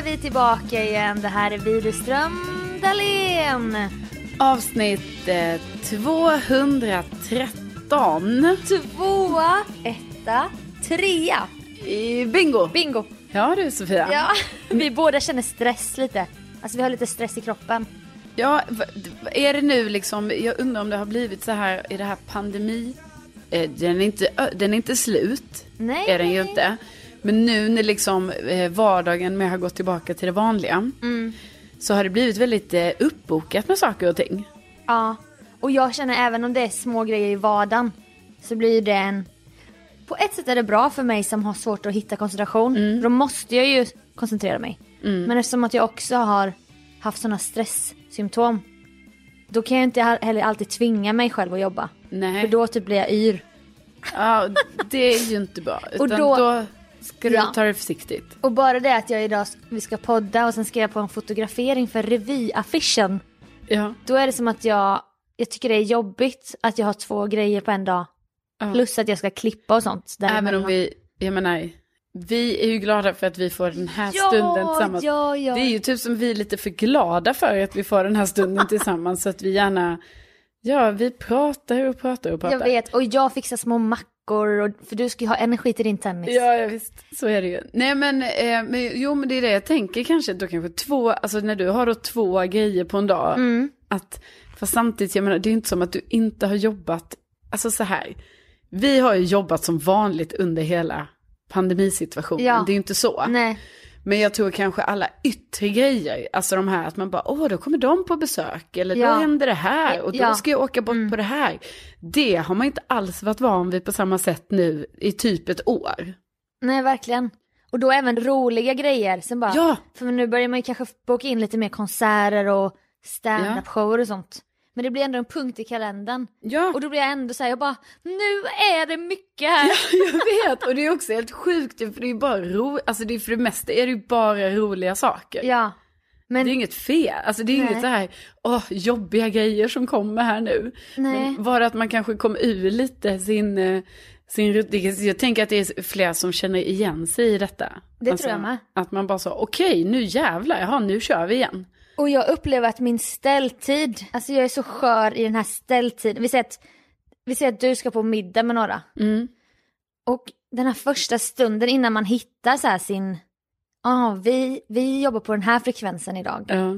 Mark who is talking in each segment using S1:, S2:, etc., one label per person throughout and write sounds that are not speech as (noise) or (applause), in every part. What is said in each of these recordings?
S1: tillbaka igen. Det här är Widerström Dahlén.
S2: Avsnitt eh, 213.
S1: Tvåa, etta, trea.
S2: I bingo!
S1: Bingo.
S2: Ja du Sofia.
S1: Ja, vi båda känner stress lite. Alltså vi har lite stress i kroppen.
S2: Ja, v- d- är det nu liksom, jag undrar om det har blivit så här i det här pandemi. Eh, Den är inte, ö, den är inte slut.
S1: Nej.
S2: Är den ju inte. Men nu när liksom eh, vardagen med har gått tillbaka till det vanliga. Så har det blivit väldigt eh, uppbokat med saker och ting.
S1: Ja. Och jag känner även om det är små grejer i vardagen så blir det en... På ett sätt är det bra för mig som har svårt att hitta koncentration. Då måste jag ju koncentrera mig. Men eftersom att jag också har haft sådana stresssymptom då kan jag inte heller alltid tvinga mig själv att jobba.
S2: Nej.
S1: För då typ blir jag yr.
S2: Ja, det är ju inte bra.
S1: (laughs)
S2: Utan
S1: Och då-
S2: då, ska du
S1: Ja.
S2: ta det försiktigt.
S1: Och bara det att jag idag vi ska podda och sen ska jag på en fotografering för revyaffischen.
S2: Ja.
S1: Då är det som att jag, jag tycker det är jobbigt att jag har två grejer på en dag.
S2: Ja.
S1: Plus att jag ska klippa och sånt.
S2: Även om
S1: däremellan.
S2: vi, jag menar, vi är ju glada för att vi får den här
S1: Ja,
S2: stunden tillsammans.
S1: ja, ja.
S2: Det är ju typ som vi är lite för glada för att vi får den här stunden tillsammans. Så att vi gärna, ja vi pratar och pratar och pratar.
S1: Jag vet, och jag fixar små mackor och, för du ska ju ha energi till din tennis.
S2: Ja, ja, visst. Så är det ju. Nej, men, eh, men jo, men det är det jag tänker kanske. Då kanske två, alltså när du har då två grejer på en dag.
S1: Mm.
S2: Att, för samtidigt, jag menar, det är ju inte som att du inte har jobbat, alltså så här. Vi har ju jobbat som vanligt under hela pandemisituationen.
S1: Ja.
S2: Det är ju inte så.
S1: Nej.
S2: Men jag tror kanske alla yttre grejer, alltså de här att man bara, åh då kommer de på besök, eller
S1: Ja.
S2: då händer det här, och då
S1: Ja.
S2: ska jag åka bort på det här. Det har man inte alls varit van vid på samma sätt nu i typ ett år.
S1: Nej, verkligen. Och då även roliga grejer. Sen bara,
S2: Ja.
S1: För nu börjar man ju kanske boka in lite mer konserter och stand-up shower och sånt. Men det blir ändå en punkt i kalendern.
S2: Ja,
S1: Och då blir jag ändå såhär, jag bara, nu är det mycket här.
S2: (laughs) jag vet. Och det är också helt sjukt, för det är ju bara ro, alltså det är för det mesta är det ju bara roliga saker.
S1: Ja.
S2: Det är
S1: Men
S2: inget fel, alltså det är
S1: Nej.
S2: inget så här, åh, jobbiga grejer som kommer här nu.
S1: Nej.
S2: Men bara att man kanske kom ur lite sin, eh, sin rut- det- jag tänker att det är flera som känner igen sig i detta. Alltså,
S1: Det tror jag med.
S2: Att man bara sa, okej nu jävlar, jaha nu kör vi igen.
S1: Och jag upplever att min ställtid, alltså jag är så skör i den här ställtiden. Vi säger att, vi säger att du ska på middag med några.
S2: Mm.
S1: Och den här första stunden innan man hittar så här sin, ja vi, vi jobbar på den här frekvensen idag.
S2: Ja.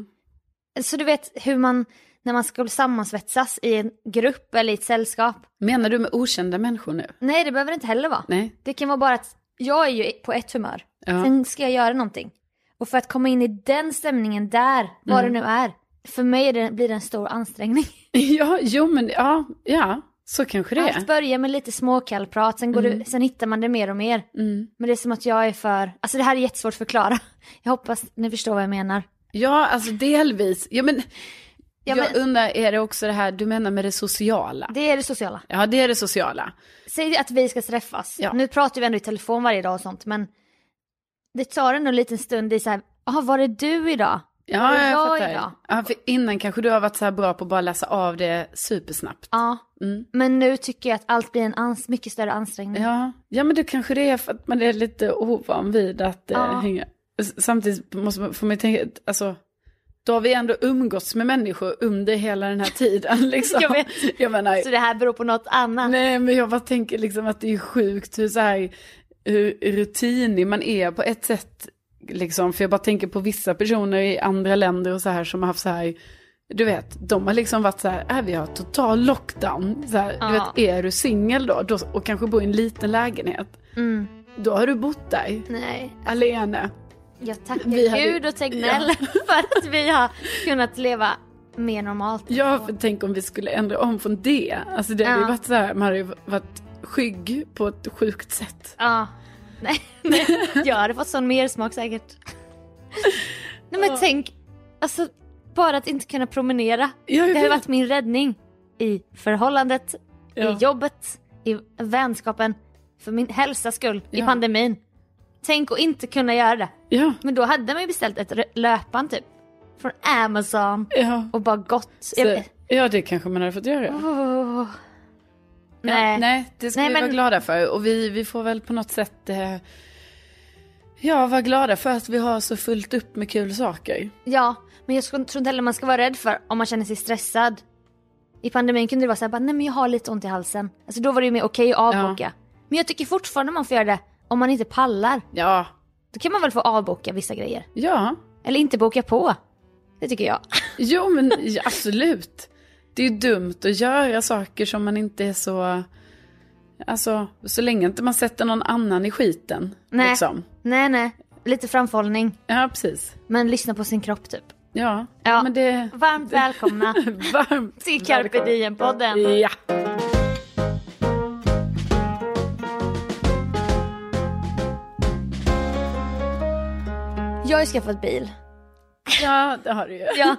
S1: Så du vet hur man, när man ska sammansvetsas i en grupp eller i ett sällskap.
S2: Menar du med okända människor nu?
S1: Nej det behöver det inte heller vara.
S2: Nej.
S1: Det kan vara bara att jag är ju på ett humör.
S2: Ja.
S1: Sen ska jag göra någonting. Och för att komma in i den stämningen där, vad det nu är. För mig är det, blir det en stor ansträngning.
S2: (laughs) Ja, jo men ja, ja, så kanske det Mm.
S1: Allt
S2: är.
S1: börjar med lite småkallprat, sen, går det, sen hittar man det mer och mer.
S2: Mm.
S1: Men det är som att jag är för... Alltså det här är jättesvårt att förklara. (laughs) Jag hoppas ni förstår vad jag menar.
S2: Ja, alltså delvis. Ja, men,
S1: Ja,
S2: jag
S1: men,
S2: undrar, är det också det här du menar med det sociala?
S1: det är det sociala.
S2: Ja, det är det sociala.
S1: Säg att vi ska träffas.
S2: Ja.
S1: Nu pratar vi ändå i telefon varje dag och sånt, men det tar ändå en liten stund i så här, jaha, var är du idag?
S2: Ja, jag,
S1: jag idag?
S2: fattar. Ja, för innan kanske du har varit så här bra på att bara läsa av det supersnabbt.
S1: Ja.
S2: Mm.
S1: Men nu tycker jag att allt blir en ans- mycket större ansträngning.
S2: Ja, ja men det kanske det är för att man är lite ovan vid att eh,
S1: Ja.
S2: hänga. S- Samtidigt måste man, får man ju tänka, att, alltså, då har vi ändå umgåtts med människor under hela den här tiden. (laughs) Liksom.
S1: Jag vet.
S2: Jag menar,
S1: Så det här beror på något annat.
S2: nej men jag bara tänker liksom att det är sjukt hur, så här, hur rutinig man är på ett sätt. Liksom, för jag bara tänker på vissa personer i andra länder och så här som har haft så här, du vet, de har liksom varit så här, äh, vi har total lockdown. Så här,
S1: Ja.
S2: Du vet, är du singel då, då och kanske bor i en liten lägenhet.
S1: Mm.
S2: Då har du bott där,
S1: Nej,
S2: alene.
S1: jag tackar
S2: Vi hade-
S1: Gud och Tegnell (laughs) för att vi har kunnat leva mer normalt.
S2: Ja, för tänk om vi skulle ändra om från det. Alltså det hade
S1: Ja.
S2: ju varit så här, man hade ju varit skygg på ett sjukt sätt.
S1: Ja. Nej, (laughs) nej. Jag hade fått sån mersmak säkert. Nej men tänk, alltså bara att inte kunna promenera.
S2: Ja,
S1: Det
S2: jag
S1: har ju
S2: vet.
S1: varit min räddning i förhållandet, i
S2: Ja.
S1: jobbet, i vänskapen, för min hälsas skull, i
S2: Ja.
S1: pandemin. Tänk att inte kunna göra det.
S2: Ja,
S1: Men då hade man ju beställt ett rö- löpband typ. Från Amazon
S2: ja.
S1: och bara gått.
S2: Så, ja, det kanske man hade fått göra.
S1: Åh.
S2: Ja,
S1: Nej.
S2: nej, det ska
S1: Nej,
S2: vi
S1: men-
S2: vara glada för. Och vi, vi får väl på något sätt eh, Ja, var glada för att vi har så fullt upp med kul saker.
S1: Ja, men jag tror inte heller man ska vara rädd för om man känner sig stressad. I pandemin kunde det vara så här, bara, nej men jag har lite ont i halsen. Alltså då var det ju mer okej att avboka. Men jag tycker fortfarande man får göra det om man inte pallar.
S2: Ja,
S1: Då kan man väl få avboka vissa grejer.
S2: ja.
S1: Eller inte boka på. Det tycker jag. (laughs)
S2: Jo, men ja, absolut. Det är ju dumt att göra saker som man inte är så... Alltså, så länge inte man sätter någon annan i skiten.
S1: Nej.
S2: Liksom.
S1: Nej, nej. Lite framförhållning.
S2: Ja, precis.
S1: Men lyssna på sin kropp typ.
S2: Ja,
S1: Ja.
S2: men det... (laughs)
S1: Varmt välkomna
S2: Varmt
S1: till Carpe Diem-podden.
S2: Ja.
S1: Jag har ju skaffat bil.
S2: ja, det har du ju.
S1: Ja.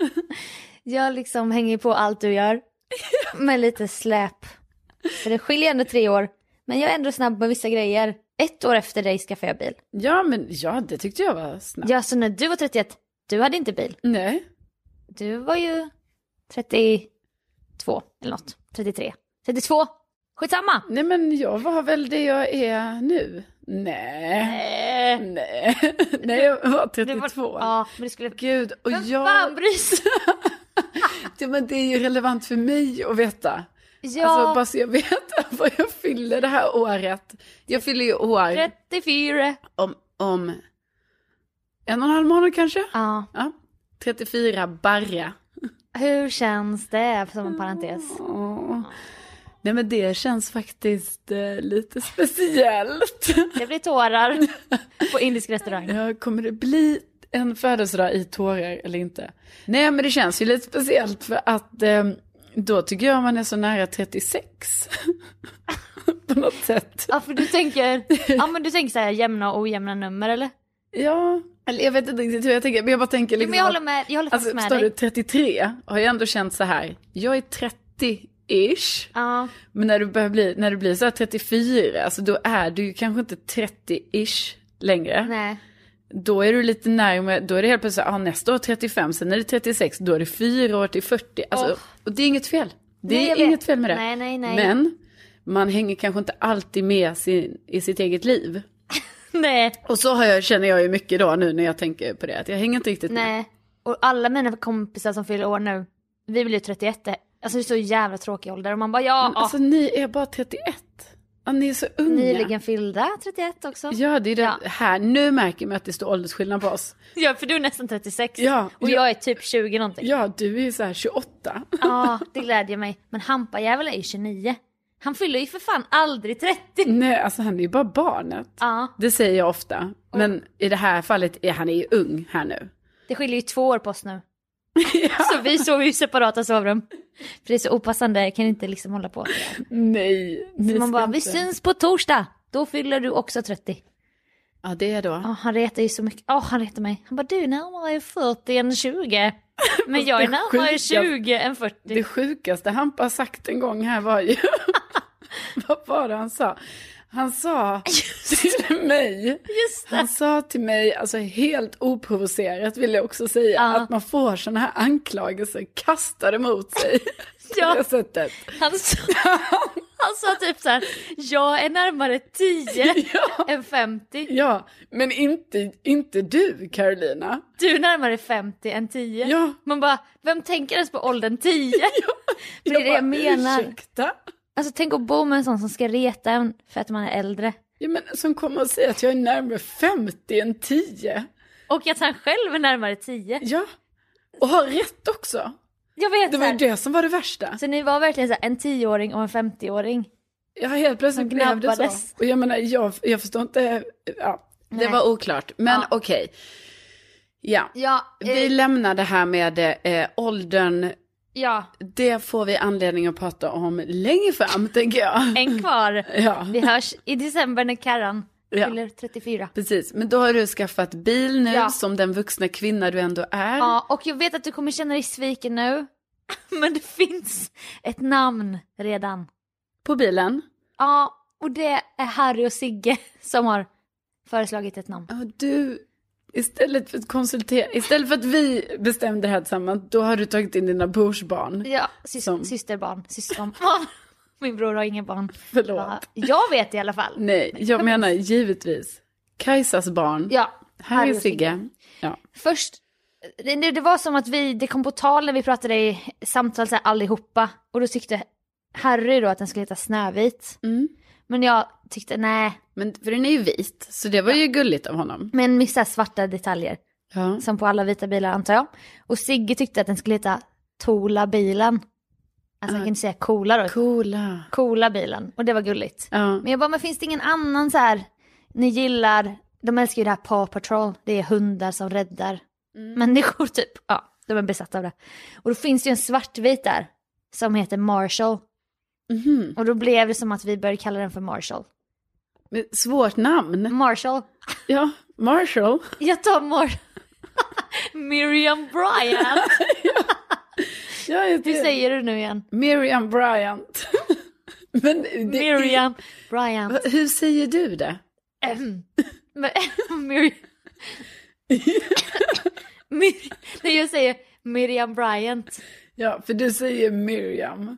S1: Jag liksom hänger på allt du gör. Med lite släp. För det skiljer ändå tre år. Men jag är ändå snabb med vissa grejer. Ett år efter dig skaffade jag bil.
S2: Ja, men ja, det tyckte jag var snabbt.
S1: Ja, så när du var 31, du hade inte bil.
S2: Nej.
S1: Du var ju 32 eller något. 33. 32! Skitsamma!
S2: Nej, men jag var väl det jag är nu. Nej.
S1: Eh,
S2: Nej, (laughs) Nej jag var
S1: du
S2: 32.
S1: var, ja, men du skulle...
S2: Gud, och
S1: Vem
S2: jag...
S1: fan bryr sig?
S2: Ja, men det är ju relevant för mig att veta.
S1: Ja,
S2: Alltså bara så jag vet (laughs) vad jag fyller det här året. Jag fyller ju år
S1: 34.
S2: om, om en och en halv månad kanske.
S1: Ja,
S2: Ja, 34 barre.
S1: hur känns det? Som en parentes.
S2: Åh. Nej men det känns faktiskt eh, lite speciellt.
S1: Det blir
S2: (laughs)
S1: tårar på indisk restaurang.
S2: Ja, kommer det bli en födelsedag i tårar eller inte? Nej men det känns ju lite speciellt för att eh, då tycker jag man är så nära 36. (laughs) På något sätt.
S1: Ja, för du tänker, ja men du tänker så här jämna och ojämna nummer eller?
S2: Ja, eller jag vet inte riktigt hur jag tänker, men jag bara tänker
S1: Jo,
S2: liksom
S1: men jag håller
S2: att-
S1: med, jag håller
S2: Alltså
S1: faktiskt med
S2: förstår du,
S1: dig.
S2: 33 har jag ändå känt så här, jag är 30-ish.
S1: Ja,
S2: Men när du börjar bli, när du blir så här 34, alltså då är du ju kanske inte 30-ish längre.
S1: nej.
S2: Då är du lite närmare, då är det helt plötsligt, ah, nästa år 35, sen är det 36, då är det fyra år till 40. Alltså,
S1: Åh.
S2: Och det är inget fel. Det
S1: Nej, jag
S2: är
S1: vet.
S2: inget fel med det.
S1: Nej, nej, nej.
S2: Men man hänger kanske inte alltid med sin, i sitt eget liv.
S1: (laughs) Nej,
S2: Och så har jag, känner jag ju mycket då nu när jag tänker på det, att jag hänger inte riktigt med.
S1: nej. Och alla mina kompisar som fyller år nu, vi blir ju 31. Alltså det är så jävla tråkig ålder och man bara ja,
S2: Men Alltså ni är bara 31. Ja, ni är så unga.
S1: nyligen fyllda 31 också.
S2: Ja, det är det
S1: Ja.
S2: här. Nu märker man att det står åldersskillnad på oss.
S1: (laughs) Ja, för du är nästan 36
S2: Ja,
S1: och
S2: ja.
S1: jag är typ 20 någonting.
S2: Ja, du är ju så här 28.
S1: Ja, det glädjer mig. Men Hampa-jävel är ju 29. Han fyller ju för fan aldrig 30.
S2: Nej, alltså han är ju bara barnet.
S1: Ja,
S2: Det säger jag ofta. Men i det här fallet är han är ju ung här nu.
S1: det skiljer ju två år på oss nu. Så vi sov ju i separata sovrum. För det är så opassande, kan inte liksom hålla på.
S2: Nej, ni
S1: Så man
S2: ska
S1: bara,
S2: inte.
S1: vi syns på torsdag! Då fyller du också 30.
S2: Ja, det är då.
S1: Ja, han retar ju så mycket. Ja, han retar mig. Han bara, du är närmare 40 än 20. Men jag är
S2: Det
S1: närmare
S2: sjuka-
S1: 20 än 40.
S2: Det sjukaste Hampa har sagt en gång här
S1: (laughs)
S2: var ju, vad var det han sa? Han sa till mig,
S1: Just det.
S2: han sa till mig, alltså helt oprovocerat vill jag också säga,
S1: Ja.
S2: att man får sådana här anklagelser kastade mot sig.
S1: (laughs) Ja.
S2: På det sättet.
S1: Han sa, (laughs) han sa typ så här, jag är närmare 10
S2: Ja,
S1: än 50.
S2: ja, men inte, inte du Carolina.
S1: Du är närmare 50 än 10.
S2: Ja.
S1: Man bara, vem tänker ens på åldern 10? För det är det jag menar.
S2: Ursäkta?
S1: Alltså tänk att bo med en sån som ska reta en för att man är äldre.
S2: Ja, men som kommer att säga att jag är närmare 50 än 10.
S1: Och att han själv är närmare 10.
S2: Ja, och har rätt också.
S1: Jag vet
S2: Det
S1: så
S2: var
S1: här.
S2: ju det som var det värsta.
S1: Så ni var verkligen så här, en 10-åring och en 50-åring.
S2: Jag helt plötsligt
S1: De
S2: blev det
S1: gnabbades.
S2: så. Och jag menar, jag, jag förstår inte. Ja, det
S1: Nej.
S2: var oklart, men
S1: Ja. Eh.
S2: okej. Ja,
S1: Ja,
S2: vi lämnar det här med eh, åldern.
S1: ja,
S2: Det får vi anledning att prata om längre fram, (laughs) tänker jag.
S1: en kvar.
S2: Ja,
S1: Vi hörs i december när Karan
S2: Ja. Mm.
S1: fyller 34.
S2: precis. Men då har du skaffat bil nu
S1: Ja.
S2: som den vuxna kvinna du ändå är.
S1: Ja, och jag vet att du kommer känna dig sviken nu. (laughs) Men det finns ett namn redan.
S2: På bilen.
S1: Ja, och det är Harry och Sigge som har föreslagit ett namn.
S2: Ja, du, istället för att konsultera, istället för att vi bestämde det här tillsammans, då har du tagit in dina brorsbarn.
S1: Ja, sys-
S2: Som?
S1: systerbarn, syskonbarn. (laughs) Min bror har inga barn.
S2: Förlåt.
S1: Ja, Jag vet i alla fall.
S2: Nej, jag menar givetvis Kajsas barn.
S1: Ja,
S2: Här är Sigge. Ja.
S1: Först, det, det- det var som att vi, det kom på tal när vi pratade i samtal så här, allihopa och då tyckte Harry då att den skulle heta Snövit.
S2: Mm.
S1: Men jag tyckte nej,
S2: Men, för den är ju vit, så det var ju gulligt av honom.
S1: men med så här svarta detaljer
S2: Ja.
S1: som på alla vita bilar antar jag. Och Sigge tyckte att den skulle heta Tola bilen. Alltså
S2: Ah.
S1: han kunde säga coola då.
S2: Coola.
S1: Coola bilen och det var gulligt.
S2: Ja.
S1: Men jag bara, men finns det ingen annan så här, ni gillar, de älskar ju det här Paw Patrol, det är hundar som räddar
S2: Mm.
S1: människor (laughs) typ. Ja, de är besatta av det. Och då finns det ju en svartvit där som heter Marshall.
S2: Mhm.
S1: Och då blev det som att vi började kalla den för Marshall.
S2: Men Svårt namn.
S1: Marshall,
S2: Mm. Ja, Marshall.
S1: jag tar Mar... (laughs) Miriam Bryant!
S2: Ja, jag heter
S1: Hur säger du nu igen?
S2: Miriam Bryant. (laughs) Men det är-
S1: Miriam Bryant.
S2: Va- Hur säger du det?
S1: Ehm. Men- (laughs)
S2: (laughs)
S1: Miriam... Mir- Nej, jag säger Miriam Bryant.
S2: Ja, för du säger Miriam.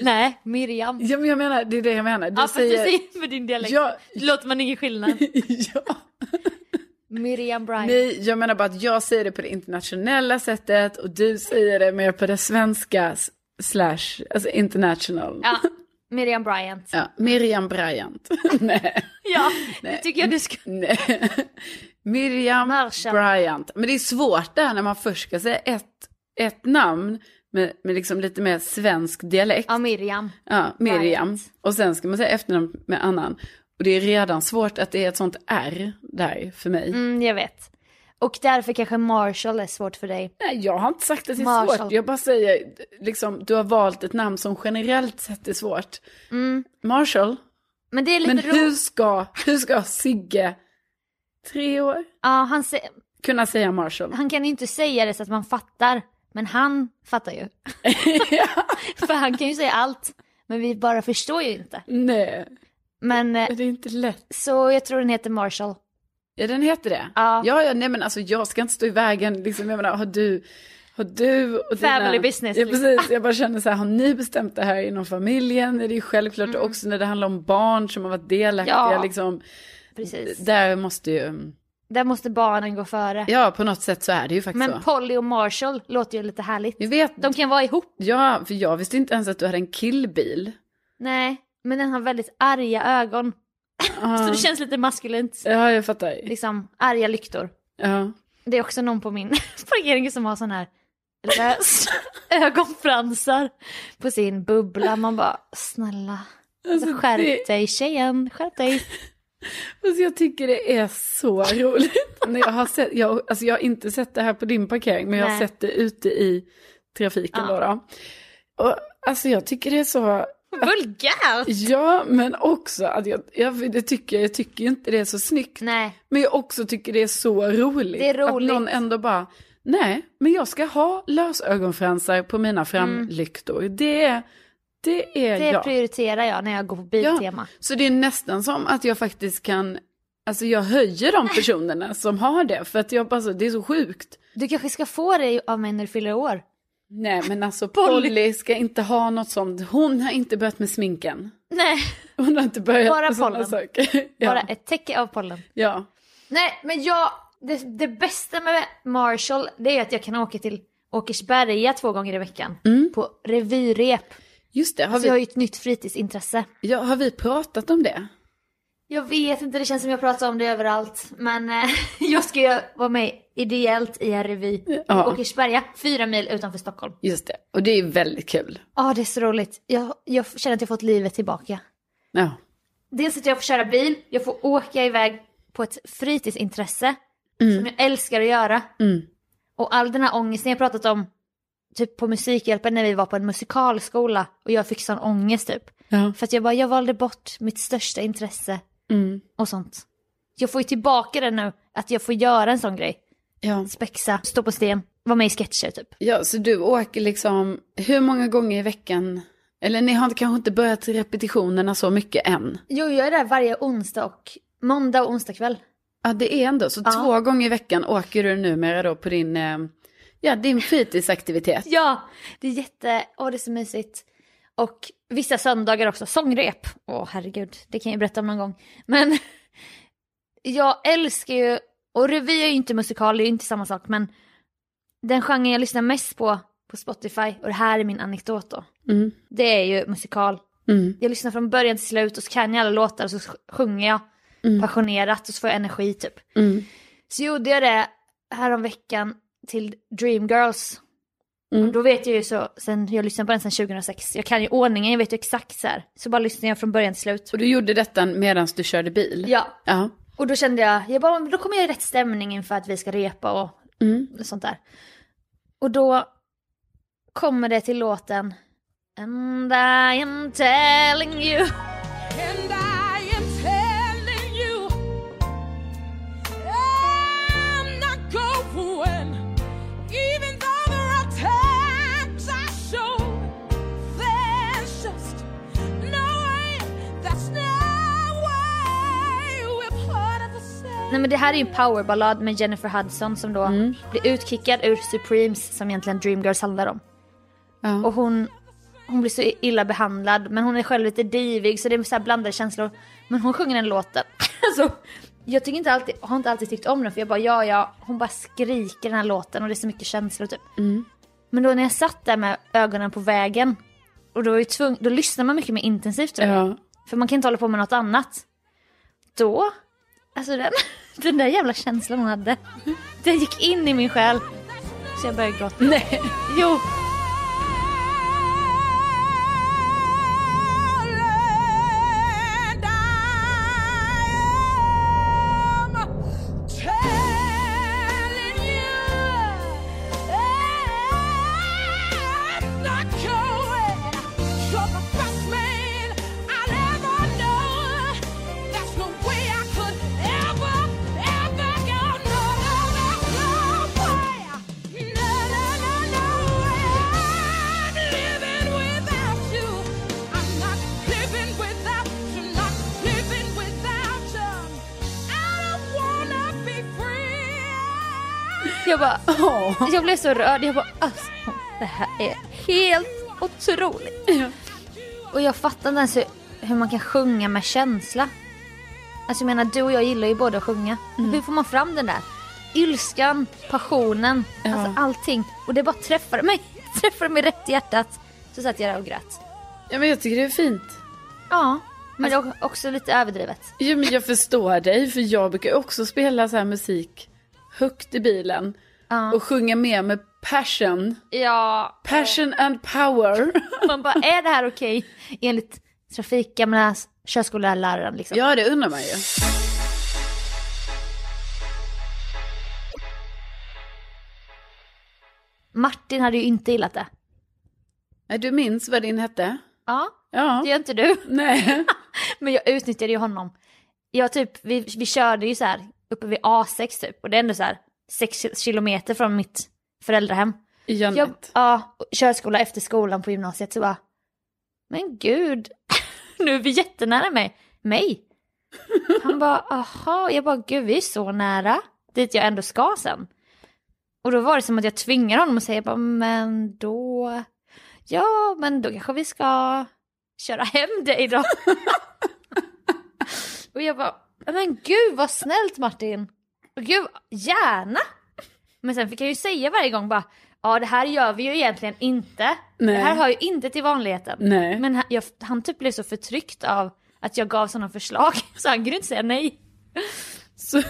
S1: Nej, Miriam.
S2: Ja, men jag menar, det är det jag menar. Du
S1: ja, fast
S2: säger...
S1: du säger med din dialekt.
S2: Ja. (laughs)
S1: Låter man ingen skillnad.
S2: ja.
S1: Miriam Bryant.
S2: Nej, jag menar bara att jag säger det på det internationella sättet och du säger det mer på det svenska s- slash, alltså international.
S1: (laughs) Ja, Miriam Bryant.
S2: Ja, Miriam Bryant. (laughs) Nej,
S1: (laughs) Ja, det tycker jag du ska...
S2: nej. Miriam
S1: Marsha.
S2: Bryant. Men det är svårt där när man först ska säga ett, ett namn med, med liksom lite mer svensk dialekt.
S1: Ja, Miriam.
S2: Ja, Miriam.
S1: Bryant.
S2: Och sen ska man säga efternamn med annan. Och det är redan svårt att det är ett sånt R där för mig.
S1: Mm, jag vet. Och därför kanske Marshall är svårt för dig.
S2: Nej, jag har inte sagt att det är
S1: Marshall.
S2: svårt. Jag bara säger, liksom, du har valt ett namn som generellt sett är svårt. Marshall.
S1: Men det är
S2: Men
S1: Mm. lite
S2: hur
S1: roligt.
S2: ska, hur ska Sigge, tre år,
S1: Ja, han, sä-
S2: kunna säga Marshall?
S1: han kan ju inte säga det så att man fattar. Men han fattar (laughs) ju. för han kan ju säga allt. Men vi bara förstår ju inte.
S2: Nej,
S1: Men eh,
S2: det är inte lätt.
S1: så jag tror den heter Marshall.
S2: Ja, den heter det.
S1: Ja.
S2: ja, ja, nej men alltså jag ska inte stå i vägen, liksom, jag menar, har du, har du och dina...
S1: Family business,
S2: Ja,
S1: liksom.
S2: precis. Jag bara känner så här, har ni bestämt det här inom familjen? Det är ju självklart också när det handlar om barn som har varit delaktiga,
S1: Mm. Ja.
S2: liksom.
S1: Precis.
S2: Där måste ju... mm,
S1: Där måste barnen gå före.
S2: Ja, på något sätt så är det ju faktiskt
S1: Men
S2: så.
S1: Polly och Marshall låter ju lite härligt.
S2: Jag vet,
S1: De kan vara ihop.
S2: ja, för jag visste inte ens att du hade en killbil.
S1: Nej, men den har väldigt arga ögon. Så det känns lite maskulint.
S2: Ja, jag fattar.
S1: Liksom arga lyktor.
S2: Ja.
S1: Det är också någon på min (laughs) parkering som har sån här (laughs) lös ögonfransar på sin bubbla. Man bara snälla.
S2: Alltså,
S1: skärp
S2: det-
S1: dig tjejen, skärp dig.
S2: Alltså, jag tycker det är så roligt. (laughs) När jag, har sett, jag, alltså, jag har inte sett det här på din parkering, men jag har
S1: Nej.
S2: sett det ute i trafiken.
S1: Ja.
S2: Då, då. Och, alltså, jag tycker det är så...
S1: Vulgärt!
S2: Ja, men också att jag, jag, det tycker, jag tycker ju inte det är så snyggt.
S1: Nej,
S2: Men jag också tycker det är så roligt.
S1: Det är roligt.
S2: Att någon ändå bara, nej, men jag ska ha lösögonfransar på mina framlyktor. Det, är- det är
S1: Mm. det
S2: jag.
S1: prioriterar jag när jag går på Biltema.
S2: Så det är nästan som att jag faktiskt kan, alltså jag
S1: (laughs)
S2: höjer de personerna som har det. För att jag bara, så, det är så sjukt.
S1: Du kanske ska få det av mig när du fyller år.
S2: Nej men alltså
S1: Polly.
S2: Polly ska inte ha något sånt. Hon har inte börjat med sminken.
S1: Nej,
S2: Hon har inte börjat
S1: Bara
S2: med sådana
S1: pollen.
S2: saker. (laughs) Ja.
S1: bara ett täcke av pollen.
S2: ja.
S1: Nej, men jag, det, det bästa med Marshall det är att jag kan åka till Åkersberga två gånger i veckan. På revyrep.
S2: Just det, har,
S1: Så jag Mm. har
S2: vi,
S1: ju ett nytt fritidsintresse.
S2: ja, har vi pratat om det?
S1: Jag vet inte, det känns som jag pratar om det överallt. Men eh, (laughs) jag ska ju vara med ideellt i en revy i
S2: Ja.
S1: Åkersberga, fyra mil utanför Stockholm.
S2: Just det, och det är väldigt kul.
S1: Ja, det är så roligt. Jag, jag känner att jag fått livet tillbaka.
S2: Ja.
S1: Dels att jag får köra bil, jag får åka iväg på ett fritidsintresse som jag älskar att göra.
S2: Mm.
S1: Och all den här ångesten jag pratat om, typ på Musikhjälpen när vi var på en musikalskola och jag fick sån ångest typ.
S2: Ja.
S1: För att jag bara, jag valde bort mitt största intresse
S2: Mm.
S1: och sånt. Jag får ju tillbaka det nu, att jag får göra en sån grej.
S2: Ja.
S1: Spexa, stå på sten, vara med i sketcher typ.
S2: ja, så du åker liksom, hur många gånger i veckan? Eller ni har inte- kanske inte börjat repetitionerna så mycket än?
S1: Jo, jag är där varje onsdag och måndag och onsdag kväll.
S2: Ja, det är ändå så.
S1: Ja.
S2: Två gånger i veckan åker du numera då på din, eh, ja, din fritidsaktivitet.
S1: Ja, det är jätte, åh det är så mysigt. Och vissa söndagar också, sångrep. Åh herregud, det kan jag ju berätta om någon gång. Men (laughs) jag älskar ju, och revy är ju inte musikal, det är ju inte samma sak, men den genren jag lyssnar mest på på Spotify, och det här är min anekdot då,
S2: (laughs) Mm.
S1: det är ju musikal.
S2: Mm.
S1: Jag lyssnar från början till slut och så kan jag alla låtar och så sjunger jag
S2: Mm.
S1: passionerat och så får jag energi typ.
S2: Mm.
S1: Så gjorde jag det häromveckan till Dreamgirls.
S2: Mm.
S1: Och då vet jag ju så, sen, jag lyssnade på den sedan 2006. Jag kan ju ordningen, jag vet ju exakt så här. Så bara lyssnar jag från början till slut.
S2: Och du gjorde detta medan du körde bil?
S1: Ja,
S2: Ja.
S1: och då kände jag, jag bara, "Men då kommer jag i rätt stämning inför att vi ska repa och
S2: Mm.
S1: sånt där. Och då kommer det till låten And I am telling you
S3: And I am telling you, I'm not going. Even though there are times I show, there's just no way. That's no way we're part of the same.
S1: Nej men det här är ju en powerballad med Jennifer Hudson som då blir utkickad ur Supremes som egentligen Dreamgirls handlar om.
S2: Ja.
S1: Och hon, hon blir så illa behandlad men hon är själv lite divig så det är så här blandade känslor. Men hon sjunger den låten. (laughs) alltså, jag tycker inte alltid, har inte alltid tyckt om den för jag bara ja ja, hon bara skriker den här låten och det är så mycket känslor typ.
S2: Mm.
S1: Men då när jag satt där med ögonen på vägen och då, var jag tvung, då lyssnar man mycket mer intensivt tror jag.
S2: ja.
S1: För man kan inte hålla på med något annat. Då, alltså den, (laughs) den där jävla känslan hon hade. Den gick in i min själ. Så jag började gråta.
S2: Nej.
S1: Jo,
S3: And I am telling you, I'm not going. You're the best man I'll ever know. That's no way I could ever, ever go. No, no, no, no way. No, no, no, no way. I'm living without you. I'm not living without you. Not living without you. I don't wanna be free.
S1: jag bara,
S2: Åh.
S1: (laughs) jag blev så rörd. Jag bara, alltså det här är helt otroligt. Och jag fattar inte ens hur, hur man kan sjunga med känsla. Alltså jag menar, du och jag gillar ju båda att sjunga. Hur får man fram den där? Ilskan, passionen, alltså allting. Och det bara träffade mig. (laughs) Träffade mig rätt i hjärtat. Så satt jag där och grät.
S2: Ja, men jag tycker det är fint.
S1: Ja, men det var också lite överdrivet.
S2: Jo, men jag förstår dig, för jag brukar också spela så här musik högt i bilen. Och sjunga med med passion.
S1: Ja,
S2: Passion and power.
S1: man bara är det här okej enligt trafik, gamla körskolläraren liksom?
S2: (laughs) Ja, det undrar man ju.
S1: Martin hade ju inte gillat det.
S2: Nej, Du minns vad din hette?
S1: Ja, det
S2: Ja.
S1: gör inte du. (laughs)
S2: (laughs) Nej.
S1: Men jag utnyttjade ju honom. Jag typ, vi, vi körde ju så här uppe vid A6 typ och det är ändå så här 6 kilometer från mitt föräldrahem. Jag,
S2: Janet.
S1: ja, och körskola efter skolan på gymnasiet så bara, men gud, (laughs) nu är vi jättenära mig. mig. Han bara, aha, jag bara, gud vi är så nära dit jag ändå ska sen. Och då var det som att jag tvingade honom att säga, bara, men då, ja men då kanske vi ska köra hem dig då. och jag bara, men gud vad snällt Martin. Och gud, gärna. Men sen fick jag ju säga varje gång bara, ja det här gör vi ju egentligen inte.
S2: Nej.
S1: Det här hör ju inte till vanligheten.
S2: Nej.
S1: Men han, jag, han typ blev så förtryckt av att jag gav sådana förslag (laughs) så han kunde inte säga nej.
S2: Så,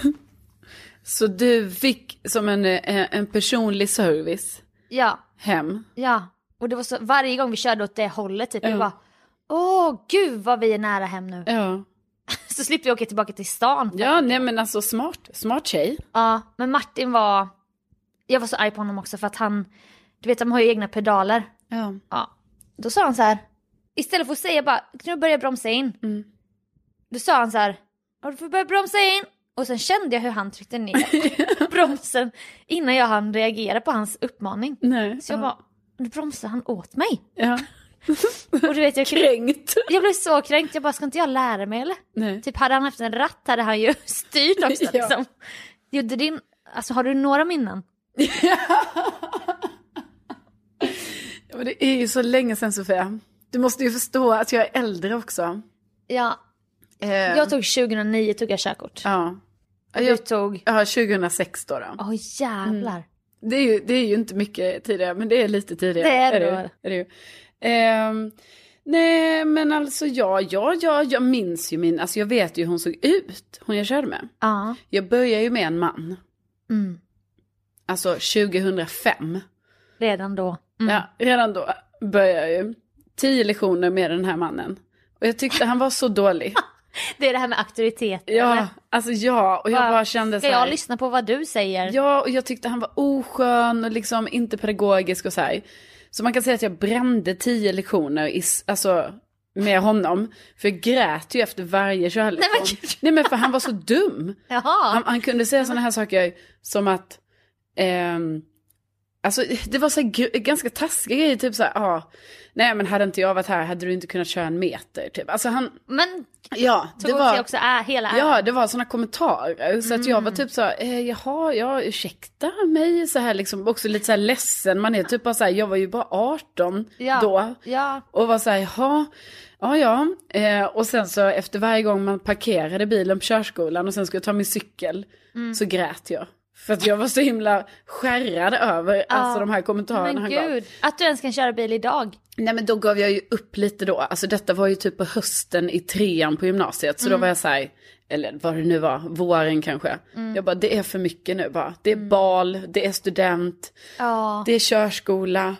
S2: så du fick som en, eh, en personlig service
S1: Ja,
S2: hem.
S1: ja. Och det var så, varje gång vi körde åt det hållet typ, jag bara, åh gud vad vi är nära hem nu.
S2: Ja.
S1: Så slipper vi åka tillbaka till stan.
S2: Ja, nej men alltså smart. Smart tjej.
S1: Ja, men Martin var... Jag var så arg på honom också för att han... Du vet, de har ju egna pedaler.
S2: Ja.
S1: Ja. Då sa han så här... Istället för att säga bara, nu börjar jag bromsa in.
S2: Mm.
S1: Då sa han så här, "Ja, du får börja bromsa in. Och sen kände jag hur han tryckte
S2: (laughs)
S1: ner bromsen innan jag hann reagera på hans uppmaning.
S2: Nej.
S1: Så jag
S2: ja.
S1: bara, nu bromsar han åt mig.
S2: Ja.
S1: Och du vet, jag,
S2: Kränkt.
S1: jag blev så kränkt, jag bara, ska inte jag lära mig eller?
S2: Nej.
S1: Typ hade han haft en ratt hade han ju (laughs) styrt också
S2: Ja.
S1: liksom. Gjorde din, alltså har du några minnen?
S2: Ja, men det är ju så länge sedan Sofia. Du måste ju förstå att jag är äldre också.
S1: Ja,
S2: Eh,
S1: jag tog 2009 tog jag körkort.
S2: ja. Ja,
S1: Du
S2: Jag, Mm.
S1: tog...
S2: ja, 2006 då. då.
S1: Åh jävlar.
S2: Det, är ju, det är ju inte mycket tidigare, men det är lite tidigare.
S1: Det är
S2: ju,
S1: det.
S2: är det ju. Ehm, nej, men alltså ja, ja, ja, jag minns ju min, alltså jag vet ju hur hon såg ut, hon jag körde med.
S1: Ja.
S2: Jag började ju med en man,
S1: Mm.
S2: alltså 2005.
S1: Redan då. Mm.
S2: Ja, redan då började jag ju. Tio lektioner med den här mannen. Och jag tyckte han var så dålig.
S1: Det är det här med auktoritet.
S2: Ja, alltså ja, och jag
S1: Bara,
S2: bara kände så
S1: Ska jag
S2: här.
S1: lyssna på vad du säger?
S2: Ja, och jag tyckte han var oskön och liksom inte pedagogisk och så här. Så man kan säga att jag brände tio lektioner i, s- alltså, med honom. För jag grät ju efter varje körlektion.
S1: Nej, men gud.
S2: Nej men för han var
S1: (laughs)
S2: så dum.
S1: Jaha.
S2: Han, han kunde säga sådana här saker som att, ehm, alltså det var så här, gr- ganska taskiga grejer, typ så här, ah, nej men hade inte jag varit här hade du inte kunnat köra en meter, typ. Alltså han,
S1: Men
S2: ja, det
S1: tog åt sig
S2: var,
S1: också ä- hela äran.
S2: ja det var sådana kommentarer, så att jag
S1: Mm.
S2: var typ så här, eh, jaha, ja ursäkta mig, så här liksom, också lite så här ledsen, man är typ bara så här, jag var ju bara 18
S1: ja.
S2: då,
S1: Ja.
S2: och var så här, jaha, ja ja. Eh, och sen så efter varje gång man parkerade bilen på körskolan och sen skulle jag ta min cykel
S1: Mm.
S2: så grät jag. För att jag var så himla skärrad över alltså, de här kommentarerna
S1: Men
S2: han gav.
S1: gud, att du ens kan köra bil idag.
S2: Nej men då gav jag ju upp lite då. Alltså detta var ju typ på hösten i trean på gymnasiet. Så då var jag så här, eller vad det nu var, våren kanske.
S1: Mm.
S2: Jag bara, det är för mycket nu bara. Det är bal, det är student,
S1: Ja.
S2: det är körskola.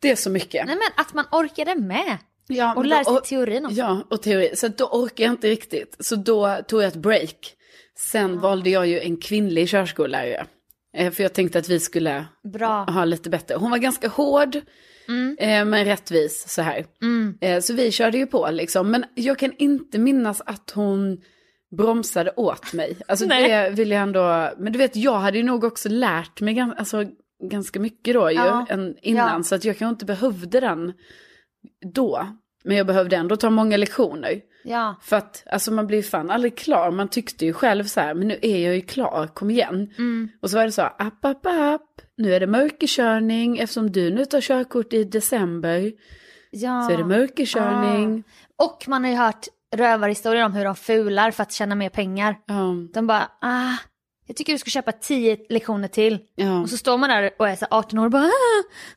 S2: Det är så mycket.
S1: Nej men att man orkade med.
S2: Ja,
S1: Och
S2: men
S1: lära
S2: då-
S1: sig teorin också.
S2: Ja, och teori. Så att då orkar jag inte riktigt. Så då tog jag ett break. Sen valde jag ju en kvinnlig körskollärare. Eh, För jag tänkte att vi skulle
S1: Bra.
S2: ha lite bättre. Hon var ganska hård,
S1: Mm.
S2: eh, men rättvis så här. Eh, Så vi körde ju på liksom. Men jag kan inte minnas att hon bromsade åt mig. Alltså
S1: (laughs) Nej.
S2: det vill jag ändå, men du vet jag hade ju nog också lärt mig gan- alltså, ganska mycket då ju,
S1: Ja.
S2: än innan.
S1: Ja.
S2: Så att jag kanske inte behövde den då. Men jag behövde ändå ta många lektioner.
S1: Ja.
S2: För att alltså, man blir ju fan aldrig klar. Man tyckte ju själv så här, men nu är jag ju klar, kom igen.
S1: Mm.
S2: Och så var det så, app, app, app, nu är det mörkerkörning eftersom du nu tar körkort i december.
S1: ja.
S2: Så är det
S1: Ah.
S2: mörkerkörning.
S1: Och man har ju hört rövarhistorier om hur de fular för att tjäna mer pengar.
S2: Ja,
S1: De bara, ah, jag tycker du ska köpa tio lektioner till.
S2: ja,
S1: Och så står man där och är så 18 år och bara, ah,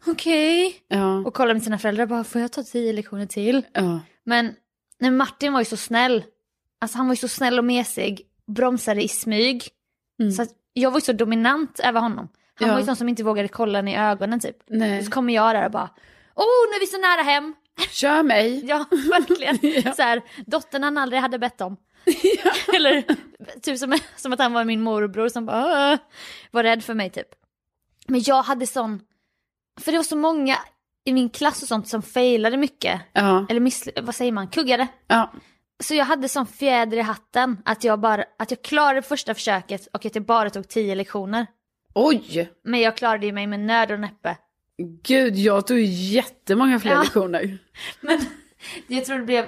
S1: okej.
S2: ja,
S1: Och kollar med sina föräldrar och bara, får jag ta tio lektioner till?
S2: ja.
S1: Men nej, Martin var ju så snäll. Alltså han var ju så snäll och mesig. Bromsade i smyg.
S2: Mm.
S1: Så att jag var ju så dominant över honom. Han
S2: Ja.
S1: var ju sån som inte vågade kolla en i ögonen typ. Och
S2: Nej,
S1: så kommer jag där och bara, oh nu är vi så nära hem.
S2: kör
S1: (laughs)
S2: mig.
S1: Ja, verkligen.
S2: (laughs) Ja.
S1: Så här, dottern han aldrig hade bett
S2: (laughs)
S1: om. (laughs) Eller typ som, som att han var min morbror som bara "Åh", var rädd för mig typ. Men jag hade sån, för det var så många i min klass och sånt som failade mycket.
S2: Ja,
S1: Eller missly- vad säger man, kuggade.
S2: ja,
S1: Så jag hade sån fjäder i hatten att jag bara, att jag klarade första försöket och att jag bara tog tio lektioner.
S2: oj.
S1: Men jag klarade ju mig med nöd och näppe.
S2: Gud, jag tog ju jättemånga fler
S1: Ja.
S2: lektioner.
S1: (laughs) Jag tror det blev,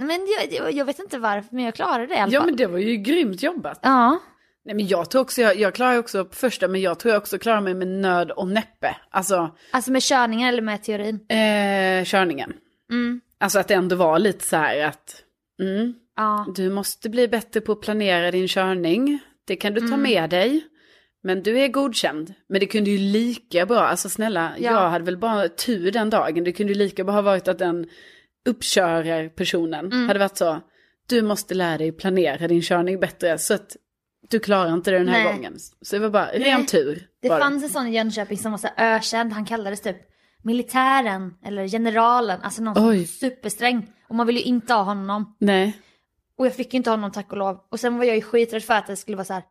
S1: men jag, jag, jag vet inte varför men jag klarade det i alla fall.
S2: Ja, men det var ju grymt jobbat.
S1: Ja.
S2: Nej men jag tror också, jag, jag klarar ju också på första men jag tror jag också klarar mig med nöd och näppe. Alltså
S1: Alltså med körningen eller med teorin?
S2: eh, körningen.
S1: Mm.
S2: Alltså att det ändå var lite så här att mm,
S1: Ja.
S2: du måste bli bättre på att planera din körning. Det kan du ta
S1: Mm.
S2: med dig. Men du är godkänd. Men det kunde ju lika bra, alltså snälla,
S1: Ja.
S2: jag hade väl bara tur den dagen. Det kunde ju lika bra ha varit att den uppkörarpersonen
S1: Mm.
S2: hade varit så, du måste lära dig planera din körning bättre så att du klarar inte det den här
S1: Nej.
S2: gången. Så det var bara ren
S1: Nej.
S2: tur.
S1: Det
S2: var
S1: fanns en sån i Jönköping som var så här ökänd, han kallades typ militären eller generalen, alltså någon som
S2: Oj.
S1: var supersträng. Och man ville ju inte ha honom.
S2: Nej.
S1: Och jag fick ju inte honom tack och lov. Och sen var jag ju skiträdd för att det skulle vara så här,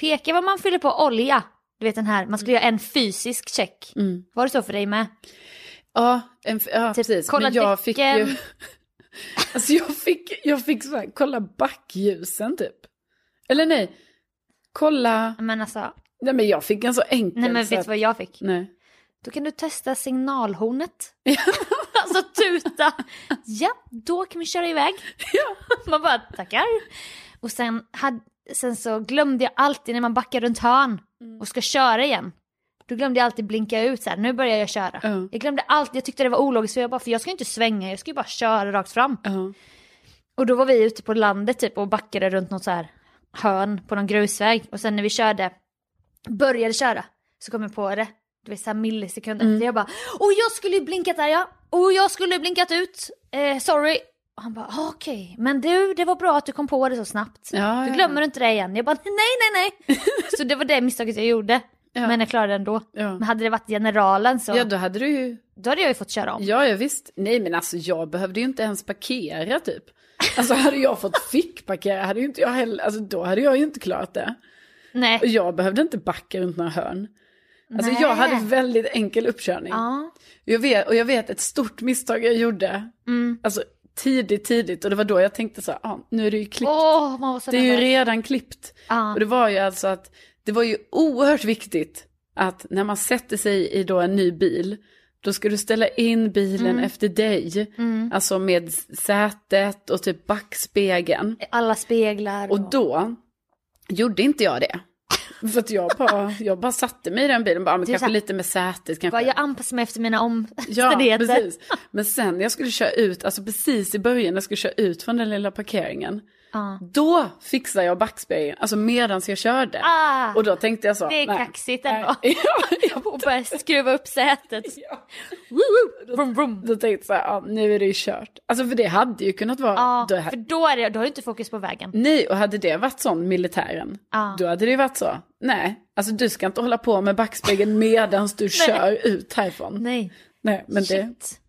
S1: peka vad man fyller på olja. Du vet den här, man skulle göra en fysisk check.
S2: Mm.
S1: Var det så för dig med?
S2: Ja, en, ja
S1: Typ,
S2: precis.
S1: kolla
S2: Men jag
S1: däcken.
S2: fick ju... (laughs) Alltså jag fick, jag fick så här, kolla backljusen typ. Eller nej, kolla...
S1: Men alltså,
S2: Nej men jag fick en så enkel
S1: nej men
S2: så
S1: vet du
S2: att...
S1: vad jag fick?
S2: Nej.
S1: Då kan du testa signalhornet. alltså tuta. Ja, då kan vi köra iväg. man bara tackar. Och sen, had, sen så glömde jag alltid när man backar runt hörn och ska köra igen. Då glömde jag alltid blinka ut så här, nu börjar jag köra.
S2: Ja.
S1: Jag glömde allt, jag tyckte det var ologiskt för jag bara, för jag ska ju inte svänga, jag ska ju bara köra rakt fram.
S2: Ja.
S1: Och då var vi ute på landet typ och backade runt något så här hörn på någon grusväg. Och sen när vi körde, började köra, så kom jag på det. Det var så här millisekunder
S2: Mm.
S1: efter. Jag bara, och jag skulle ju blinkat där ja! Och jag skulle ju blinkat ut! Eh, sorry! Och han bara, "Ah, okej, men du, det var bra att du kom på det så snabbt.
S2: Ja,
S1: du
S2: ja.
S1: glömmer inte det igen. Jag bara, nej, nej,
S2: (laughs)
S1: nej! så det var det misstaget jag gjorde.
S2: Ja.
S1: Men jag klarade det ändå.
S2: Ja.
S1: Men alltså- hade det varit generalen så,
S2: ja, då hade du ju...
S1: då hade jag ju fått köra om.
S2: Ja, ja, visst. Nej, men alltså jag behövde ju inte ens parkera typ. Alltså hade jag fått
S1: (laughs)
S2: fickparkera hade ju inte jag heller... Alltså då hade jag ju inte klarat det.
S1: Nej.
S2: Och jag behövde inte backa runt några hörn. Alltså
S1: Nej.
S2: jag hade väldigt enkel uppkörning.
S1: Ja.
S2: Jag vet, och jag vet ett stort misstag jag gjorde.
S1: Mm.
S2: Alltså tidigt, tidigt. Och det var då jag tänkte så här, ah, nu är det ju klippt.
S1: Åh, man var så
S2: det är ju
S1: nervös.
S2: redan klippt.
S1: Ja.
S2: Och det var ju alltså att, det var ju oerhört viktigt att när man sätter sig i då en ny bil, då ska du ställa in bilen
S1: Mm.
S2: efter dig. Alltså med sätet och typ backspegeln.
S1: Alla speglar.
S2: Och då gjorde inte jag det. För att jag bara, jag bara satte mig i den bilen, bara, ah, men
S1: Du
S2: kanske
S1: satt-
S2: lite med sätet kanske.
S1: Bara, jag anpassar mig efter mina
S2: Ja,
S1: omständigheter.
S2: precis. Men sen när jag skulle köra ut, alltså precis i början när jag skulle köra ut från den lilla parkeringen,
S1: (laughs) Ja.
S2: då fixade jag backspegeln, alltså medan jag körde.
S1: Ah,
S2: Och då tänkte jag så.
S1: det är
S2: nej,
S1: kaxigt
S2: nej. (laughs)
S1: ändå.
S2: Ja, jag,
S1: Och börja skruva upp sätet.
S2: (laughs) ja.
S1: Woo, Vroom, vroom.
S2: Då tänkte jag så här, ja, nu är det ju kört. Alltså för det hade ju kunnat vara...
S1: Ja,
S2: då,
S1: för då, är det, då har du inte fokus på vägen.
S2: nej, och hade det varit sån, militären,
S1: Ja.
S2: då hade det ju varit så. Nej, alltså du ska inte hålla på med backspegeln medan
S1: (laughs)
S2: du kör ut härifrån. Nej,
S1: Nej,
S2: men det,
S1: shit.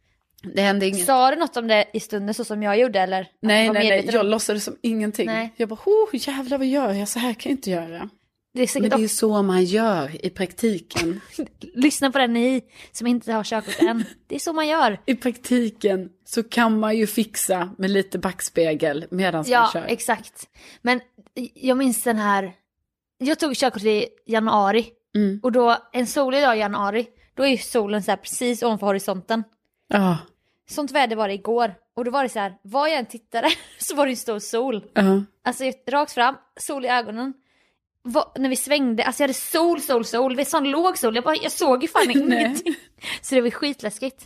S2: det hände inget.
S1: Sa du något om det i stunden så som jag gjorde eller? Att du
S2: Nej,
S1: var
S2: nej, nej,
S1: medveten om-
S2: jag låtsades som ingenting.
S1: Nej.
S2: Jag bara, oh, jävlar vad gör jag? Så här kan jag inte göra.
S1: Det är
S2: Men
S1: säkert
S2: det är ju
S1: också-
S2: så man gör i praktiken.
S1: Lyssna på den ni som inte har körkort än.
S2: (laughs)
S1: Det är så man gör.
S2: I praktiken så kan man ju fixa med lite backspegel medan man
S1: Ja,
S2: kör.
S1: exakt. Men jag minns den här, jag tog körkort i januari
S2: Mm.
S1: och då en solig dag i januari, då är ju solen så här precis ovanför horisonten.
S2: Ja,
S1: Sånt väder var det igår och då var det så här, var jag än tittade (laughs) så var det ju stor sol.
S2: ja.
S1: Alltså rakt fram, sol i ögonen. Va, när vi svängde, alltså jag hade sol, sol, sol, det var sån låg sol, jag, bara, jag såg ju fan ingenting. Så det var skitläskigt.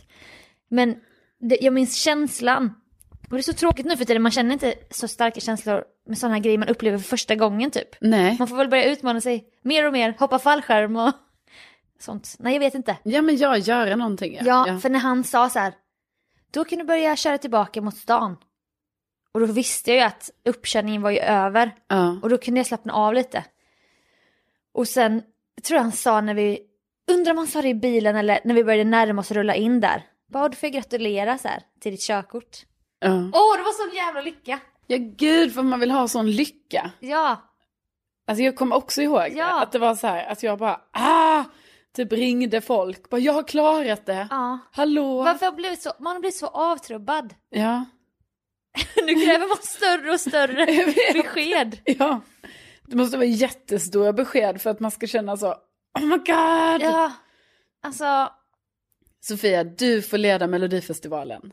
S1: Men det, jag minns känslan. Och det är så tråkigt nu för tiden, man känner inte så starka känslor med sådana här grejer man upplever för första gången typ.
S2: Nej.
S1: Man får väl börja utmana sig mer och mer, hoppa fallskärm och (laughs) sånt. Nej jag vet inte.
S2: Ja, men jag gör någonting. Ja.
S1: Ja,
S2: Ja.
S1: för när han sa så här, då kan du börja köra tillbaka mot stan. Och då visste jag ju att uppkörningen var ju över
S2: Ja.
S1: och då kunde jag slappna av lite. Och sen tror jag han sa när vi, undrar om han sa det i bilen eller när vi började närma oss och rulla in där. Bara du får jag gratulera så här till ditt körkort.
S2: Ja.
S1: Åh, det var sån jävla lycka!
S2: ja, gud vad man vill ha sån lycka.
S1: Ja,
S2: Alltså jag kommer också ihåg det,
S1: Ja.
S2: att det var så här att jag bara, ah, typ ringde folk, bara jag har klarat det.
S1: ja.
S2: Hallå.
S1: Varför har jag blivit så, man har blivit så avtrubbad.
S2: Ja.
S1: (laughs) Nu kräver man större och större (laughs)
S2: Jag vet.
S1: besked.
S2: Ja, det måste vara jättestora besked för att man ska känna så, oh my god!
S1: Ja, alltså
S2: Sofia, du får leda Melodifestivalen.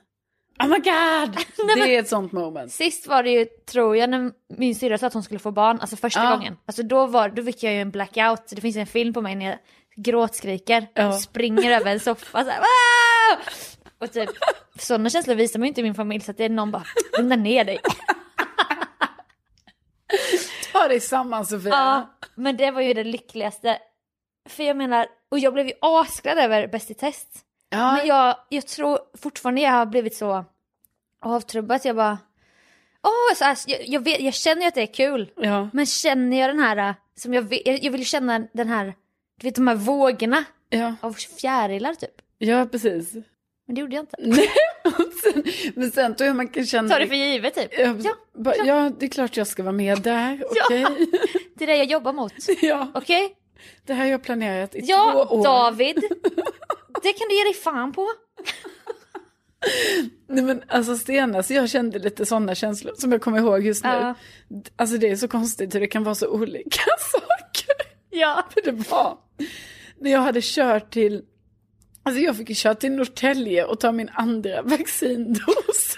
S2: Oh
S1: (laughs)
S2: my god! det är ett sånt moment.
S1: Sist var det ju, tror jag, när min syrra sa att hon skulle få barn, alltså första
S2: Ja.
S1: gången. Alltså då, var, då fick jag ju en blackout, det finns en film på mig när jag gråtskriker
S2: Ja.
S1: och springer över en soffa så här, "Wow!" Och typ, sådana känslor visar man ju inte i min familj så att det är någon bara, lugna ner dig.
S2: Ta dig samman Sofia.
S1: Ja, men det var ju det lyckligaste. För jag menar, och jag blev ju asglad över Bäst i test.
S2: Ja,
S1: Men jag, jag tror fortfarande jag har blivit så avtrubbad, jag bara, åh, så här, jag, jag, vet, jag känner ju att det är kul.
S2: ja,
S1: Men känner jag den här, äh, som jag, vill- jag jag vill känna den här, du vet de här vågorna
S2: ja,
S1: av fjärilar typ.
S2: ja, precis.
S1: Men det gjorde jag inte.
S2: Nej, (laughs) och sen, men sen tror jag man kan känna...
S1: Ta det för givet typ.
S2: ja,
S1: Ja,
S2: bara, ja, det är klart jag ska vara med där, okej? (laughs)
S1: det är det jag jobbar mot.
S2: Ja.
S1: Okej? (laughs)
S2: Det här har jag planerat i
S1: Ja,
S2: två
S1: (laughs)
S2: år.
S1: David. Det kan du ge dig fan på.
S2: Nej men alltså senast jag kände lite sådana känslor som jag kommer ihåg just nu.
S1: Ja.
S2: Alltså det är så konstigt hur det kan vara så olika (laughs) saker.
S1: Ja.
S2: För det var när jag hade kört till, alltså jag fick ju köra till Norrtälje och ta min andra vaccindos.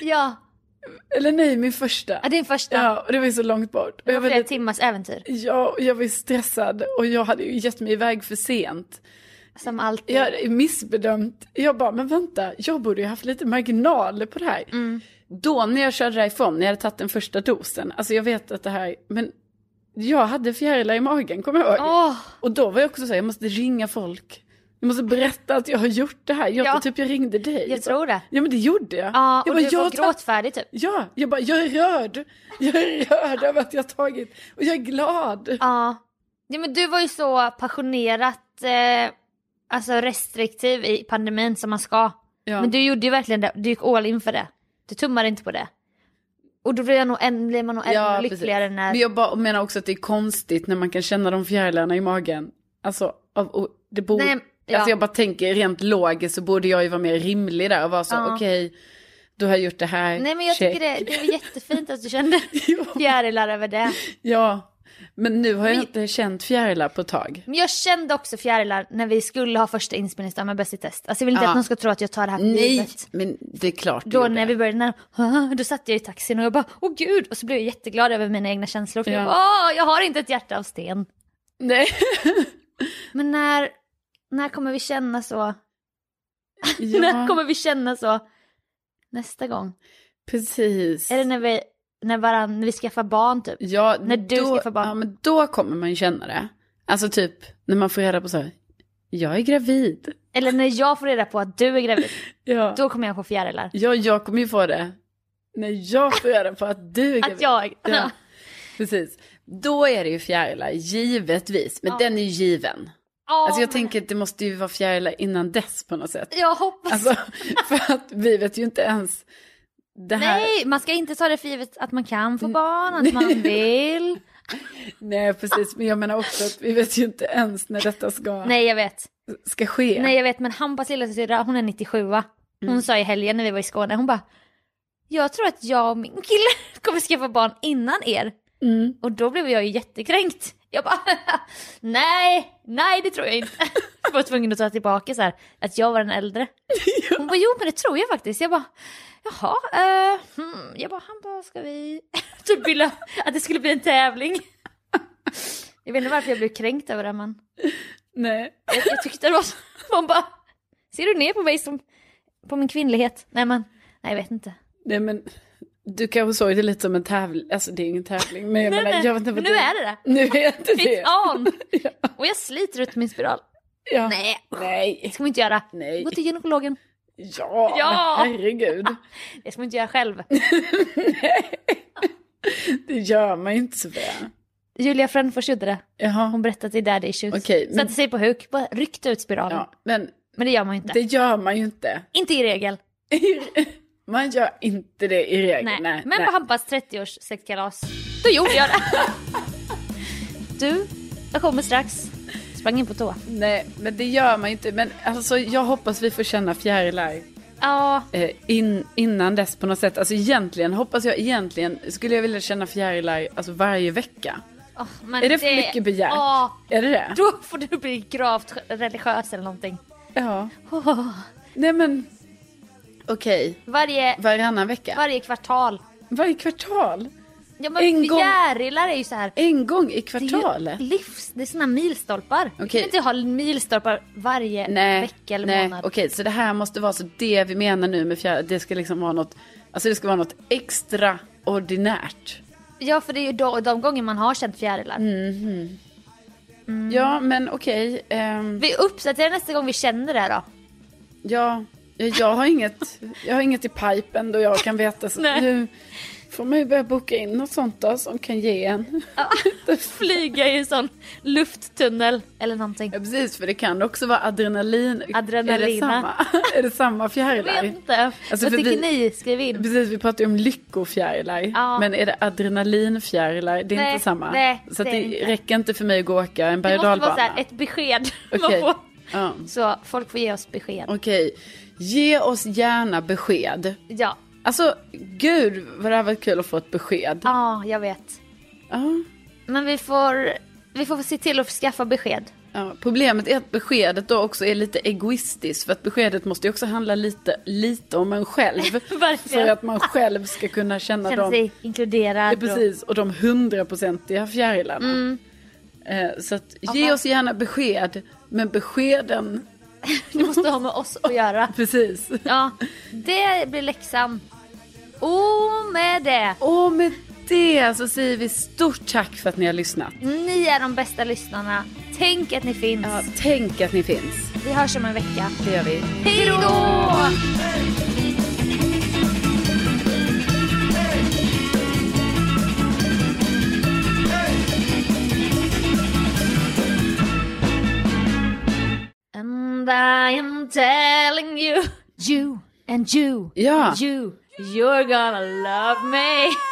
S1: Ja.
S2: (laughs) Eller nej, min första.
S1: Ja, din första.
S2: Ja, och det var ju så långt bort. Och
S1: det var
S2: jag var
S1: flera
S2: lite,
S1: timmars äventyr.
S2: ja, och jag var ju stressad och jag hade ju gett mig iväg för sent.
S1: Som alltid.
S2: Jag hade missbedömt. Jag bara, men vänta, jag borde ju haft lite marginaler på det här.
S1: Mm.
S2: Då när jag körde därifrån, när jag hade tagit den första dosen, alltså jag vet att det här, men jag hade fjärilar i magen, kommer jag ihåg.
S1: Åh,
S2: Och då var jag också så här, jag måste ringa folk. Jag måste berätta att jag har gjort det här. Jag
S1: Ja.
S2: tror typ jag ringde dig.
S1: jag tror det.
S2: Ja men det gjorde jag.
S1: Ja,
S2: jag
S1: och du var
S2: jag tar-
S1: gråtfärdig typ.
S2: Ja, jag bara, jag är rörd. Jag är rörd över att jag tagit, och jag är glad.
S1: Ja. ja men du var ju så passionerat eh, alltså restriktiv i pandemin som man ska.
S2: Ja.
S1: Men du gjorde ju verkligen det. Du gick all in för det. Du tummade inte på det. Och då blir, jag nog än, blir man nog ännu
S2: Ja, precis.
S1: lyckligare när...
S2: Men jag bara, och menar också att det är konstigt när man kan känna de fjärilarna i magen. Alltså, av, och det borde...
S1: Nej, ja.
S2: Alltså jag bara tänker rent logiskt så borde jag ju vara mer rimlig där och vara så,
S1: Ja.
S2: okej, du har gjort det här,
S1: Nej men jag
S2: check.
S1: tycker det, det var jättefint att du kände
S2: (laughs) Jo.
S1: fjärilar över det.
S2: (laughs) Ja, men nu har jag
S1: Men-
S2: inte känt fjärilar på ett tag.
S1: Men jag kände också fjärilar när vi skulle ha första inspelningsdagen med Bäst i test. Alltså jag vill inte
S2: Ja.
S1: att någon ska tro att jag tar det här för
S2: Nej,
S1: givet.
S2: men det är klart du
S1: Då
S2: gjorde.
S1: när vi började, när, (laughs) då satt jag i taxin och jag bara åh gud och så blev jag jätteglad över mina egna känslor för
S2: Ja.
S1: jag bara, åh jag har inte ett hjärta av sten.
S2: Nej.
S1: Men när, när kommer vi känna så? (laughs) (laughs)
S2: ja,
S1: När kommer vi känna så nästa gång?
S2: precis.
S1: Är det när vi, när varann, när vi skaffar barn typ?
S2: Ja,
S1: När du
S2: då,
S1: skaffar barn.
S2: Ja, men då kommer man ju känna det. Alltså typ när man får reda på så här, jag är gravid.
S1: Eller när jag får reda på att du är gravid,
S2: Ja.
S1: då kommer jag få fjärilar.
S2: ja, jag kommer ju få det. När jag får reda på att du är gravid.
S1: Att jag...
S2: Ja, precis. Då är det ju fjärilar, givetvis. Men
S1: Ja.
S2: den är ju given.
S1: Ja,
S2: Alltså jag
S1: men-
S2: tänker att det måste ju vara fjärilar innan dess på något sätt.
S1: Jag hoppas...
S2: Alltså, (laughs) för att vi vet ju inte ens det här. Mm.
S1: Nej, man ska inte ta det för givet att man kan få barn, att
S2: (laughs)
S1: man vill.
S2: Nej, precis. Men jag menar också att vi vet ju inte ens när detta ska,
S1: Nej, jag vet.
S2: ska ske.
S1: Nej jag vet men Hampas lillasyrra hon är 97 va? Hon
S2: Mm.
S1: sa i helgen när vi var i Skåne, hon bara Jag tror att jag och min kille (laughs) kommer skaffa barn innan er.
S2: Mm.
S1: Och då blev jag ju jättekränkt. Jag bara (laughs) nej, nej det tror jag inte. (laughs) Jag var tvungen att ta tillbaka så här, att jag var den (laughs) äldre. Hon bara jo men det tror jag faktiskt. Jag bara jaha, eh, hmm. jag bara han bara ska vi... (laughs) typ ville att det skulle bli en tävling. (laughs) Jag vet inte varför jag blev kränkt över det men
S2: Nej.
S1: jag, jag tyckte det var (laughs) så. Man bara, ser du ner på mig som, på min kvinnlighet? Nej men, nej jag vet inte.
S2: Nej men du kanske såg det lite som en tävling, alltså det är ingen tävling men jag
S1: Nej,
S2: menar,
S1: nej,
S2: jag vet inte
S1: men
S2: vad
S1: nu är det det.
S2: Nu är det det.
S1: Fit (laughs) on!
S2: Ja,
S1: Och jag sliter ut min spiral.
S2: ja.
S1: Nej, det
S2: Nej.
S1: ska man inte göra.
S2: Nej.
S1: Gå till gynekologen.
S2: Ja,
S1: Ja.
S2: men herregud.
S1: Det ska man inte göra själv.
S2: Det gör man ju inte Sofia.
S1: Julia Frändfors gjorde det.
S2: Jaha.
S1: Hon berättade att det är där det är tjut.
S2: Okej, men-
S1: Satte sig på huk, bara ryckte ut spiralen.
S2: Ja, men
S1: Men det gör man ju inte.
S2: det gör man ju inte. (laughs)
S1: Inte i regel.
S2: Man gör inte det i regel.
S1: Nej.
S2: Nej.
S1: men på Hampas 30-års sexkalas, då gjorde jag
S2: (laughs)
S1: det. du, jag kommer strax. Sprang in på toa.
S2: nej, men det gör man ju inte. Men alltså jag hoppas vi får känna fjärilar.
S1: Ja,
S2: eh, in, innan dess på något sätt. Alltså egentligen, hoppas jag egentligen, skulle jag vilja känna fjärilar alltså varje vecka.
S1: åh, men
S2: Är det för mycket begärt?
S1: Ja,
S2: Är det det?
S1: Då får du bli gravt religiös eller någonting. (laughs)
S2: Ja. Nej men, okej.
S1: Varje,
S2: Varannan vecka?
S1: varje kvartal.
S2: varje kvartal?
S1: Ja, men
S2: En gång-
S1: fjärilar är ju så här.
S2: En gång i
S1: Det är
S2: kvartalet?
S1: ju livs... Det är såna milstolpar. Du kan
S2: Okej.
S1: inte ha milstolpar varje vecka eller
S2: nej,
S1: månad.
S2: okej, så det här måste vara så det vi menar nu med fjärilar, det ska liksom vara något, alltså det ska vara något extraordinärt.
S1: Ja, för det är ju då, de gånger man har känt fjärilar.
S2: Mm.
S1: Mm.
S2: Ja, men okej, ehm,
S1: Vi uppdaterar nästa gång vi känner det då.
S2: ja, jag har inget, jag har inget i pipen då jag kan veta, så
S1: Nej.
S2: nu får man ju börja boka in något sånt då som kan ge en. (laughs)
S1: (laughs) Flyga i en sån lufttunnel eller någonting.
S2: Ja, precis, för det kan också vara adrenalin. Är det
S1: Adrenalina.
S2: samma, (laughs) är det samma fjärilar?
S1: Jag vet inte.
S2: Alltså,
S1: Vad
S2: för
S1: tycker
S2: vi-
S1: ni? Skriv in.
S2: Precis, vi pratade ju om lyckofjärilar.
S1: Ja.
S2: Men är det adrenalinfjärilar? Det är
S1: Nej,
S2: inte samma.
S1: nej,
S2: så att
S1: det
S2: det
S1: är inte.
S2: räcker inte för mig att gå och åka en berg
S1: Det
S2: och
S1: måste vara så
S2: dalbana.
S1: här, ett besked. (laughs) Man
S2: Okej.
S1: får-
S2: Ja.
S1: Så folk får ge oss besked.
S2: Okej, ge oss gärna besked.
S1: Ja,
S2: Alltså, gud vad det här varit kul att få ett besked.
S1: ja jag vet.
S2: Ja.
S1: Men vi får, vi får se till att skaffa besked.
S2: Ja, problemet är att beskedet då också är lite egoistiskt. För att beskedet måste ju också handla lite, lite om en själv.
S1: (laughs) Verkligen.
S2: för att man själv ska kunna känna
S1: Känna
S2: dem.
S1: sig inkluderad.
S2: Ja, precis, och de hundraprocentiga fjärilarna. Eh, så att, ge oss gärna besked, men beskeden,
S1: och- (laughs) Det måste ha med oss att göra.
S2: (laughs) precis.
S1: Ja, det blir läxan. Och med det.
S2: Och med det så säger vi stort tack för att ni har lyssnat.
S1: Ni är de bästa lyssnarna. Tänk att ni finns.
S2: Ja, tänk att ni finns.
S1: Vi hörs om en vecka.
S2: Det gör vi.
S1: Hej då! And I am telling you, you and you,
S2: Ja.
S1: and you, you're gonna love me.